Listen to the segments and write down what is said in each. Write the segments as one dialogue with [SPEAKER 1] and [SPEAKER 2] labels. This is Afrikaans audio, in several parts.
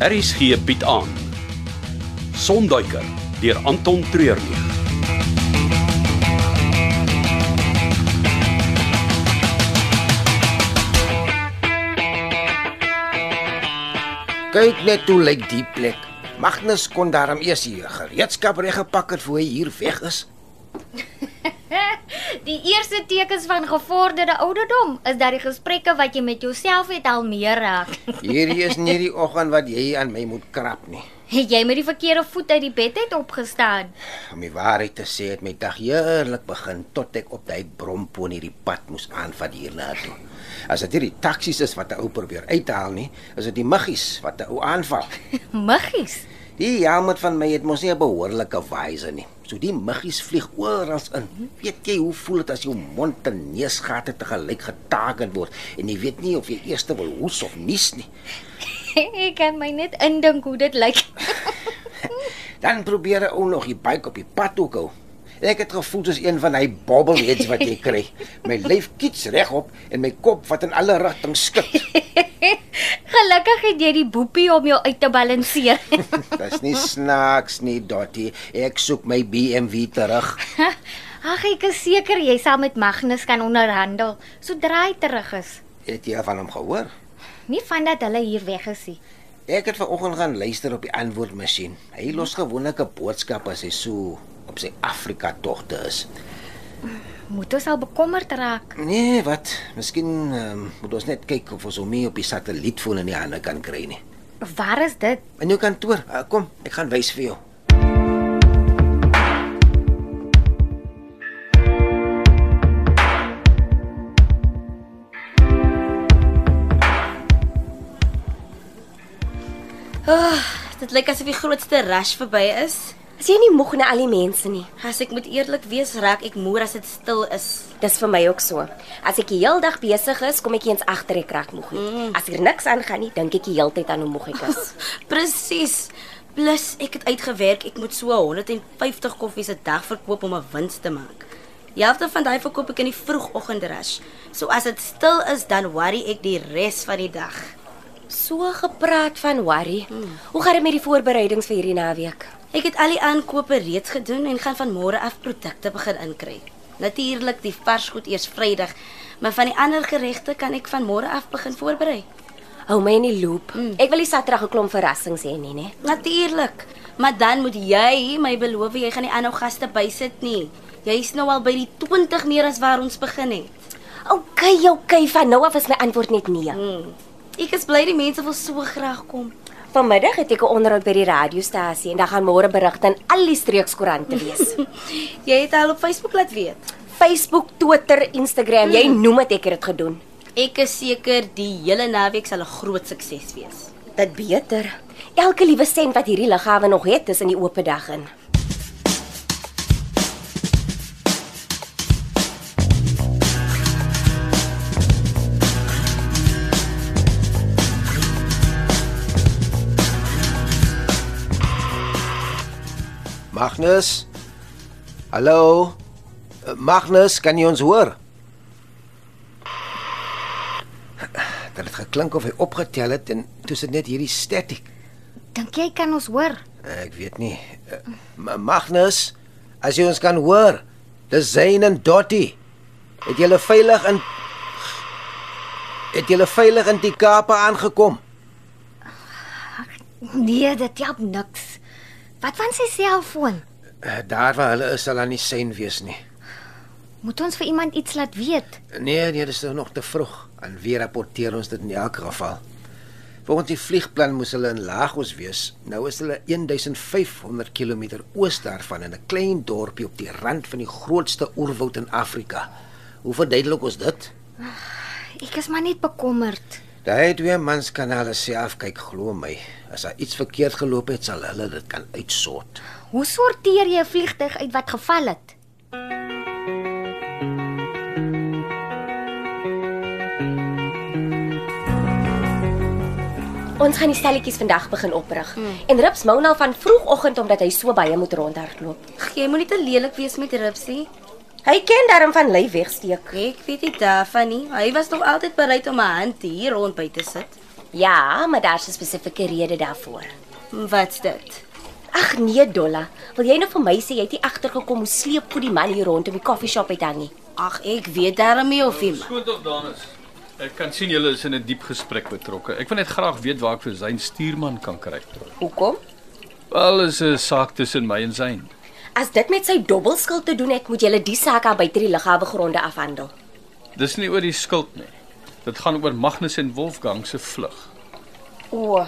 [SPEAKER 1] RSG bied aan Sonduiker deur Anton Treurnig.
[SPEAKER 2] Kyk net hoe lyk die plek. Magnus kon daarom eers hier gereedskap reggepak het voor hy hier weg is.
[SPEAKER 3] Die eerste tekens van gevorderde ouderdom is dat die gesprekke wat jy met jouself het al meer raak.
[SPEAKER 2] Hierdie is nie die oggend wat jy aan my moet krap nie.
[SPEAKER 3] Het jy met die verkeerde voet uit die bed uit opgestaan?
[SPEAKER 2] Om die waarheid te sê, het my dag heerlik begin tot ek op daai brompo in hierdie pad moes aanvat hier na toe. As dit hierdie taksies is wat 'n ou probeer uithaal nie, is dit die muggies wat 'n ou aanval.
[SPEAKER 3] Muggies.
[SPEAKER 2] Die jammer van my het mos nie 'n behoorlike wyse nie. So die muggies vlieg oral in. Weet jy hoe voel dit as jou mond en neusgate te gelyk getaken word en jy weet nie of jy eers wil hoes of nies nie.
[SPEAKER 3] ek kan my net indink hoe dit lyk.
[SPEAKER 2] Dan probeer 'n ou nog die bike op die pad ook hou. Ek het gevoel soos een van hy bobbleheads wat jy kry. My lyf kiets regop en my kop wat in alle rigtings skud.
[SPEAKER 3] Gelukkig het jy die boepie om jou uit te balanseer.
[SPEAKER 2] Dis nie snaaks nie, Dottie. Ek soek my BMW terug.
[SPEAKER 3] Ag ek is seker jy sal met Magnus kan onderhandel sodra hy terug is.
[SPEAKER 2] Het jy van hom gehoor?
[SPEAKER 3] Nie van dat hulle hier weg is nie.
[SPEAKER 2] Ek het vanoggend gaan luister op die antwoordmasjien. Hy los gewoonlik 'n boodskap as hy so op sy Afrika togte is.
[SPEAKER 3] Moet ons al bekommerd raak.
[SPEAKER 2] Nee, wat? Miskien um, moet ons net kyk of ons hom nie op die satellietfoon in die hande kan kry nie.
[SPEAKER 3] Waar is dit?
[SPEAKER 2] In jou kantoor. Uh, kom, ek gaan wys vir jou.
[SPEAKER 4] Ah, Dit lyk asof die grootste rush verby is.
[SPEAKER 5] As jy nie moeg na al die mense nie.
[SPEAKER 4] As ek moet eerlik wees, raak ek moer as dit stil is.
[SPEAKER 5] Dis vir my ook so. As ek die heel dag besig is, kom ek eens agter ek raak moeg nie. Mm. As hier niks aangaan nie, dink ek die heeltyd aan hoe moeg ek is.
[SPEAKER 4] Presies. Plus ek het uitgewerk, ek moet so 150 koffies 'n dag verkoop om 'n wins te maak. Die helfte van daai verkoop ek in die vroegoggendrush. So as dit stil is, dan worry ek die res van die dag.
[SPEAKER 5] so gepraat van worry. Mm. Hoe gaan dit met die voorbereidings vir hierdie naweek?
[SPEAKER 4] Ek het al die aankope reeds gedoen en gaan van môre af produkte begin inkry. Natuurlik die vars goed eers Vrydag, maar van die ander geregte kan ek van môre af begin voorberei.
[SPEAKER 5] Hou my in die loop. Mm. Ek wil nie Saterdag 'n klomp verrassings hê nee, nie, né?
[SPEAKER 4] Natuurlik. Maar dan moet jy my beloof jy gaan nie aanhou gaste bysit nie. Jy's nou al by die 20 meer as waar ons begin het.
[SPEAKER 5] Okay, okay, van nou af is my antwoord net nee. Mm.
[SPEAKER 4] Hmm. Ek is bly die mense wil so graag kom.
[SPEAKER 5] Vanmiddag het ek 'n onderhoud by die radiostasie en dan gaan môre berigte in al die streekskoerante wees.
[SPEAKER 4] Jy het al op Facebook laat weet.
[SPEAKER 5] Facebook, Twitter, Instagram, jy noem dit ek het dit gedoen.
[SPEAKER 4] Ek is seker die hele naweek sal 'n groot sukses wees.
[SPEAKER 5] Dit beter. Elke liewe sent wat hierdie lughawe nog het, is in die oop dag in.
[SPEAKER 2] Magnus? Hallo? Eh, Magnus, kan jy ons hoor? Dit het geklink of hy opgetel het en toe sit net hierdie statiek.
[SPEAKER 3] Dink jy kan ons hoor?
[SPEAKER 2] Ek weet nie. Eh, Ma- Magnus, as jy ons kan hoor, dis Zayn en Dotty. Het julle veilig in Het julle veilig in die Kaap aangekom?
[SPEAKER 3] Nee, dit help niks. Wat van sy selfoon?
[SPEAKER 2] Eh, Daar waar hulle is, sal daar nie sein wees nie.
[SPEAKER 3] Moet ons vir iemand iets laat weet?
[SPEAKER 2] Nee, nee, dis nou nog te vroeg. En weer rapporteer ons dit in elk geval. Volgens die vliegplan moes hulle in Lagos wees. Nou is hulle 1500 km oos daarvan in 'n klein dorpie op die rand van die grootste oerwoud in Afrika. Hoe verduidelik ons dit?
[SPEAKER 3] Ek is maar net bekommerd.
[SPEAKER 2] Daai twee mans kan hulle self kyk, glo my. As daar iets verkeerd geloop het, sal hulle dit kan uitsort.
[SPEAKER 3] Hoe sorteer jy 'n vliegtyg uit wat geval het?
[SPEAKER 5] Ons gaan die stelletjies vandag begin oprig. Mm. En Rips mou nou van vroegoggend omdat hy so baie moet rondhardloop.
[SPEAKER 4] Ag, Jy moenie te lelik wees met Ripsie.
[SPEAKER 5] Hy ken daarom van lyf wegsteek.
[SPEAKER 4] Ek weet dit daarvan nie. Hy was nog altyd bereid om 'n hand hier rond by te sit.
[SPEAKER 5] Ja, maar daar's 'n spesifieke rede daarvoor.
[SPEAKER 4] Wat's dit?
[SPEAKER 5] Ag nee, Dolla. Wil jy nou vir my sê jy het nie agtergekom hoe sleep goed die man hier rond om die koffieshop uit hang nie?
[SPEAKER 4] Ag, ek weet daarmee of nie. man.
[SPEAKER 6] Skoon tog dames. Ek kan sien julle is in 'n diep gesprek betrokke. Ek wil net graag weet waar ek vir Zayn stuurman kan kry.
[SPEAKER 5] Hoekom?
[SPEAKER 6] Wel, is 'n saak tussen my en Zayn.
[SPEAKER 5] As dit met sy dobbelskil te doen het, moet jy die saak aan buite die lughawe gronde afhandel.
[SPEAKER 6] Dis nie oor die skuld nie. Dit gaan oor Magnus en Wolfgang se vlug.
[SPEAKER 5] O,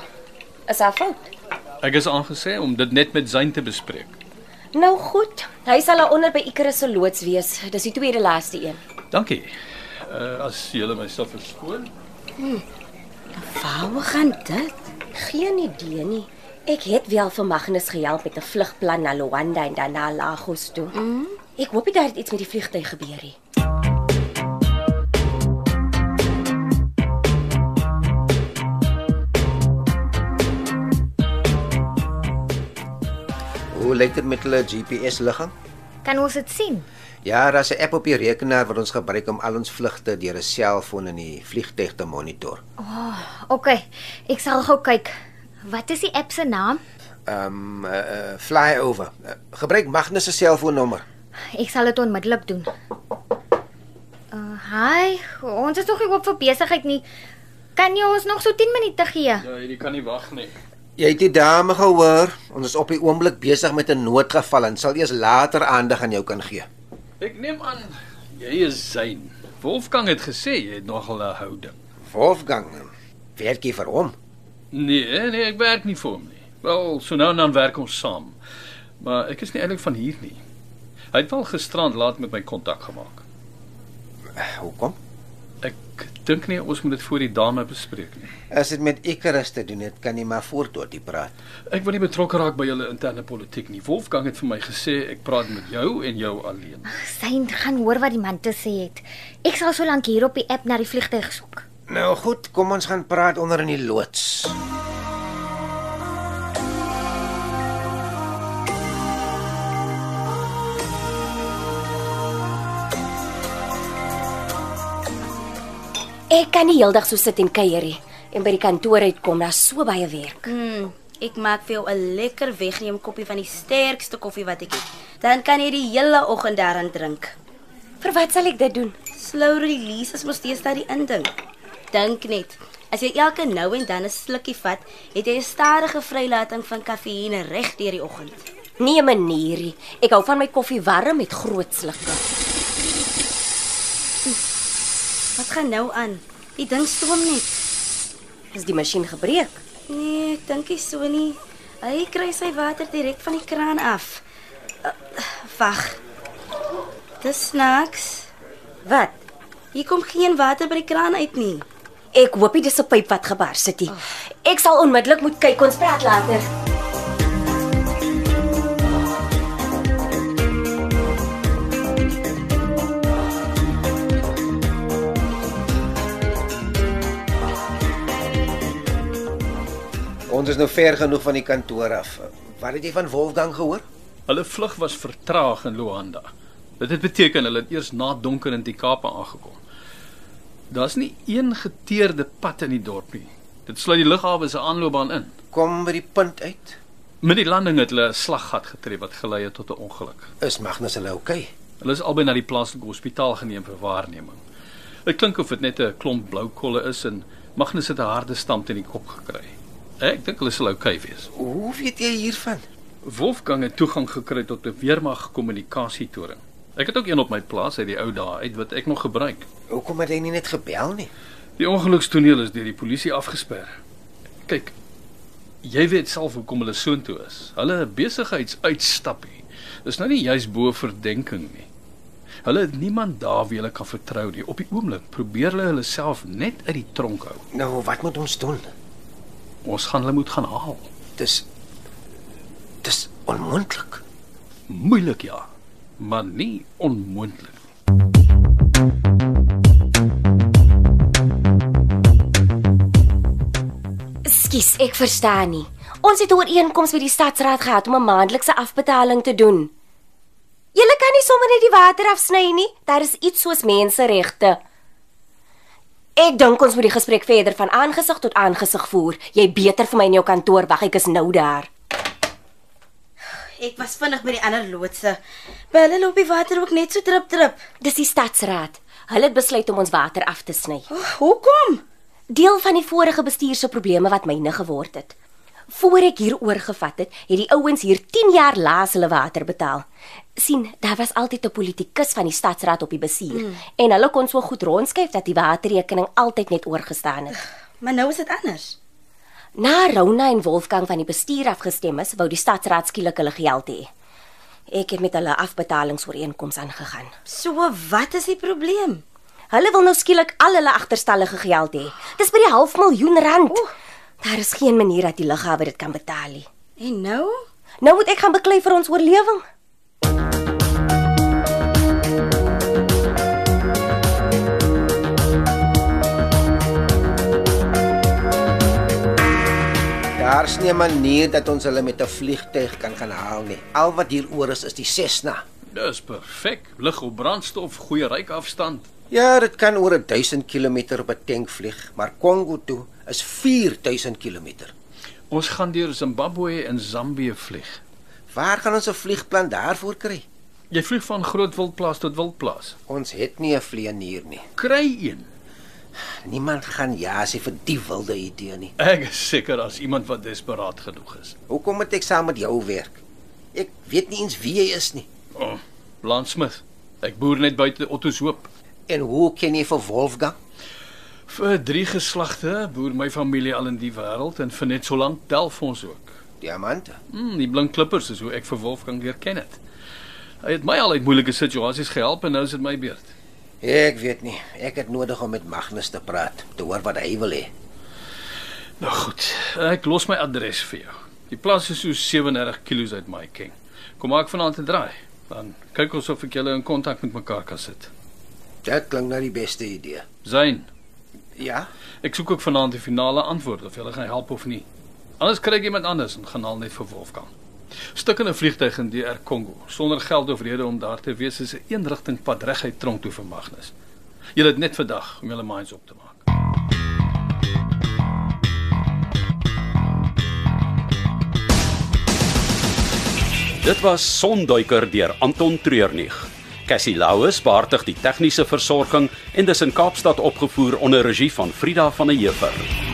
[SPEAKER 5] is haar fout.
[SPEAKER 6] Ek is aangesê om dit net met Zayn te bespreek.
[SPEAKER 5] Nou goed, hy sal daar onder by Icarus se loods wees. Dis die tweede laaste een.
[SPEAKER 6] Dankie. Uh as julle myself verskoon.
[SPEAKER 4] Waaroor gaan dit?
[SPEAKER 5] Geen idee nie. Ek het wel vir Magnus gehelp met 'n vlugplan na Luanda en dan na Lagos toe. Mm. Ek hoop nie daar het iets met die vliegtyg gebeur nie.
[SPEAKER 2] Hoe lyk dit met hulle GPS-ligging?
[SPEAKER 3] Kan ons dit sien?
[SPEAKER 2] Ja, daar's 'n app op die rekenaar wat ons gebruik om al ons vlugte deur 'n selfoon in die vliegtyg te monitor.
[SPEAKER 3] OK, ek sal gou kyk. Wat is die app se naam?
[SPEAKER 2] Ehm um, uh, uh, flyover. Uh, gebruik Magnus se selfoonnommer.
[SPEAKER 3] Ek sal dit onmiddellik doen. Uh, hi, ons is nog nie oop vir besigheid nie. Kan jy ons nog so 10 minute gee?
[SPEAKER 6] Ja, hierdie kan nie wag nie.
[SPEAKER 2] Jy het die dame gehoor. Ons is op die oomblik besig met 'n noodgeval en sal eers later aandag aan jou kan gee.
[SPEAKER 6] Ek neem aan jy is Zayn. Wolfgang het gesê jy het nogal 'n houding.
[SPEAKER 2] Wolfgang, werk jy vir hom?
[SPEAKER 6] Nee, nee, ek werk nie vir hom nie. Wel, so nou en dan werk ons saam. Maar ek is nie eintlik van hier nie. Hy het wel gisterand laat met my kontak gemaak.
[SPEAKER 2] Uh, hoekom?
[SPEAKER 6] Ek dink nie ons moet dit voor die dame bespreek nie.
[SPEAKER 2] As dit met Icarus te doen het, kan jy maar voortdurend die praat.
[SPEAKER 6] Ek wil nie betrokke raak by julle interne politiek nie. Wolfgang het vir my gesê ek praat met jou en jou alleen.
[SPEAKER 3] Syn gaan hoor wat die man te sê het. Ek sal solank hier op die app na die vliegtyg soek.
[SPEAKER 2] Nou goed, kom ons gaan praat onder in die loods.
[SPEAKER 5] Ek kan nie heeldag so sit en kuier nie. En by die kantoor uitkom, daar's so baie werk.
[SPEAKER 4] Mm, ek maak vir jou 'n lekker wegneem koppie van die sterkste koffie wat ek het. Dan kan jy die hele oggend daaraan drink.
[SPEAKER 5] Vir wat sal ek dit doen?
[SPEAKER 4] Slow release is mos steeds daai inding. Dink net, as jy elke nou en dan 'n slukkie vat, het jy 'n stadige vrylating van kafeïne reg deur die oggend.
[SPEAKER 5] Nee, manierie. Ek hou van my koffie warm met groot slukke.
[SPEAKER 4] Wat gaan nou aan? Die ding stoom net.
[SPEAKER 5] Is die masjien gebreek?
[SPEAKER 4] Nee, ek dink nie so nie. Hy kry sy water direk van die kraan af. Uh, Wag. Dis snaaks.
[SPEAKER 5] Wat?
[SPEAKER 4] Hier kom geen water by die kraan uit nie.
[SPEAKER 5] Ek hoop nie dis 'n pyp wat gebars het nie. Ek sal onmiddellik moet kyk, ons praat later.
[SPEAKER 2] Ons is nou ver genoeg van die kantoor af. Wat het jy van Wolfgang gehoor?
[SPEAKER 6] Hulle vlug was vertraag in Luanda. Dit het beteken hulle het eers na donker in die Kaap aangekom. Daar's nie een geteerde pad in die dorp nie. Dit sluit die lughawe se aanloopbaan in.
[SPEAKER 2] Kom by die punt uit.
[SPEAKER 6] Met die landing het hulle 'n slaggat getref wat gelei het tot 'n ongeluk.
[SPEAKER 2] Is Magnus hulle oukei? Okay?
[SPEAKER 6] Hulle is albei na die plaaslike hospitaal geneem vir waarneming. Dit klink of dit net 'n klomp blou kolle is en Magnus het 'n harde stamp teen die kop gekry. Ek dink hulle sal oukei okay wees.
[SPEAKER 2] Hoe weet jy hiervan?
[SPEAKER 6] Wolfgang het toegang gekry tot 'n weermag kommunikasietoring. Ek het ook een op my plaas uit die ou dae uit wat ek nog gebruik.
[SPEAKER 2] Hoekom het hy nie net gebel nie?
[SPEAKER 6] Die ongelukstoneel is deur die polisie afgesper. Kyk, jy weet self hoekom hulle soontoe is. Hulle besigheidsuitstappie is nou nie juis bo verdenking nie. Hulle het niemand daar wie hulle kan vertrou nie. Op die oomblik probeer hulle hulle self net uit die tronk hou.
[SPEAKER 2] Nou, wat moet ons doen?
[SPEAKER 6] Ons gaan hulle moet gaan haal.
[SPEAKER 2] Dis dis onmoontlik.
[SPEAKER 6] Moeilik ja, maar nie onmoontlik.
[SPEAKER 5] Skus, ek verstaan nie. Ons het 'n ooreenkoms met die stadsraad gehad om 'n maandelikse afbetaling te doen. Julle kan nie sommer net die water afsny nie. Daar is iets soos menseregte. Ek dink ons moet die gesprek verder van aangesig tot aangesig voer. Jy beter vir my in jou kantoor wag, ek is nou daar.
[SPEAKER 4] Ek was vinnig by die ander loodse. By hulle loop die water ook net so drup drup.
[SPEAKER 5] Dis die stadsraad. Hulle het besluit om ons water af te sny.
[SPEAKER 4] Oh, hoekom?
[SPEAKER 5] Deel van die vorige bestuur se probleme wat myne geword het. Voor ek hier oorgevat het, het die ouens hier 10 jaar laas hulle water betaal. sien, daar was altyd 'n politikus van die stadsraad op die bestuur mm. en hulle kon so goed rondskuif dat die waterrekening altyd net oorgestaan het.
[SPEAKER 4] Maar nou is dit anders.
[SPEAKER 5] Na Rona en Wolfgang van die bestuur afgestem is, wou die stadsraad skielik hulle geld hê. Ek het met hulle afbetalingsooreenkomste aangegaan.
[SPEAKER 4] So wat is die probleem?
[SPEAKER 5] Hulle wil nou skielik al hulle agterstallige geld hê. Dis by die half miljoen rand. Oeh. Daar is geen manier dat die lughawe dit kan betaal nie.
[SPEAKER 4] En nou?
[SPEAKER 5] Nou moet ek gaan beklei vir ons oorlewing.
[SPEAKER 2] Daar's nie 'n manier dat ons hulle met 'n vliegtyg kan gaan haal nie. Al wat hier oor is is die Cessna.
[SPEAKER 6] Dis perfek. Lig op brandstof, goeie ryk afstand.
[SPEAKER 2] Ja, dit kan oor 1000 km op 'n tank vlieg, maar Kongo toe is 4000 km.
[SPEAKER 6] Ons gaan deur Zimbabwe en Zambië vlieg.
[SPEAKER 2] Waar gaan ons 'n vliegplan daarvoor kry?
[SPEAKER 6] Jy vlieg van Groot Wildplaas tot Wildplaas.
[SPEAKER 2] Ons het nie 'n vlieënier nie.
[SPEAKER 6] Kry een.
[SPEAKER 2] Niemand gaan ja sê vir die wilde idee nie.
[SPEAKER 6] Ek is seker as iemand wat desperaat genoeg is.
[SPEAKER 2] Hoekom moet ek saam met jou werk? Ek weet nie eens wie jy is nie.
[SPEAKER 6] Oh, Blan Smith. Ek boer net buite Ottoshoop.
[SPEAKER 2] En hoe ken jy vir Wolfgang?
[SPEAKER 6] Vir drie geslagte boer my familie al in die wêreld en vir net so lank delf ons ook.
[SPEAKER 2] Diamante.
[SPEAKER 6] Mm, die blink klippers is hoe ek vir Wolfgang leer ken het. Hy het my al uit moeilike situasies gehelp en nou is dit my beurt.
[SPEAKER 2] Ek weet nie. Ek het nodig om met Magnus te praat, te hoor wat hy wil hê.
[SPEAKER 6] Nou goed, ek los my adres vir jou. Die plaas is so 37 km uit my ken. Kom maak vanaand 'n draai. Dan kyk ons of ek julle in kontak met mekaar kan sit.
[SPEAKER 2] Dit klink na die beste idee.
[SPEAKER 6] Zain,
[SPEAKER 2] Ja.
[SPEAKER 6] ek soek ook vanaand die finale antwoord of julle gaan help of nie. Anders kry ek iemand anders en gaan haal net vir Wolfgang. Stik in 'n vliegtyg in DR Kongo sonder geld of rede om daar te wees is 'n eenrigtingpad reguit tronk toe vir Magnus. Julle het net vandag om julle minds op te maak.
[SPEAKER 1] Dit was Sonduiker deur Anton Treurnig. Cassie Louws beheer die tegniese versorging en dis in Kaapstad opgevoer onder regie van Frida van der Heever.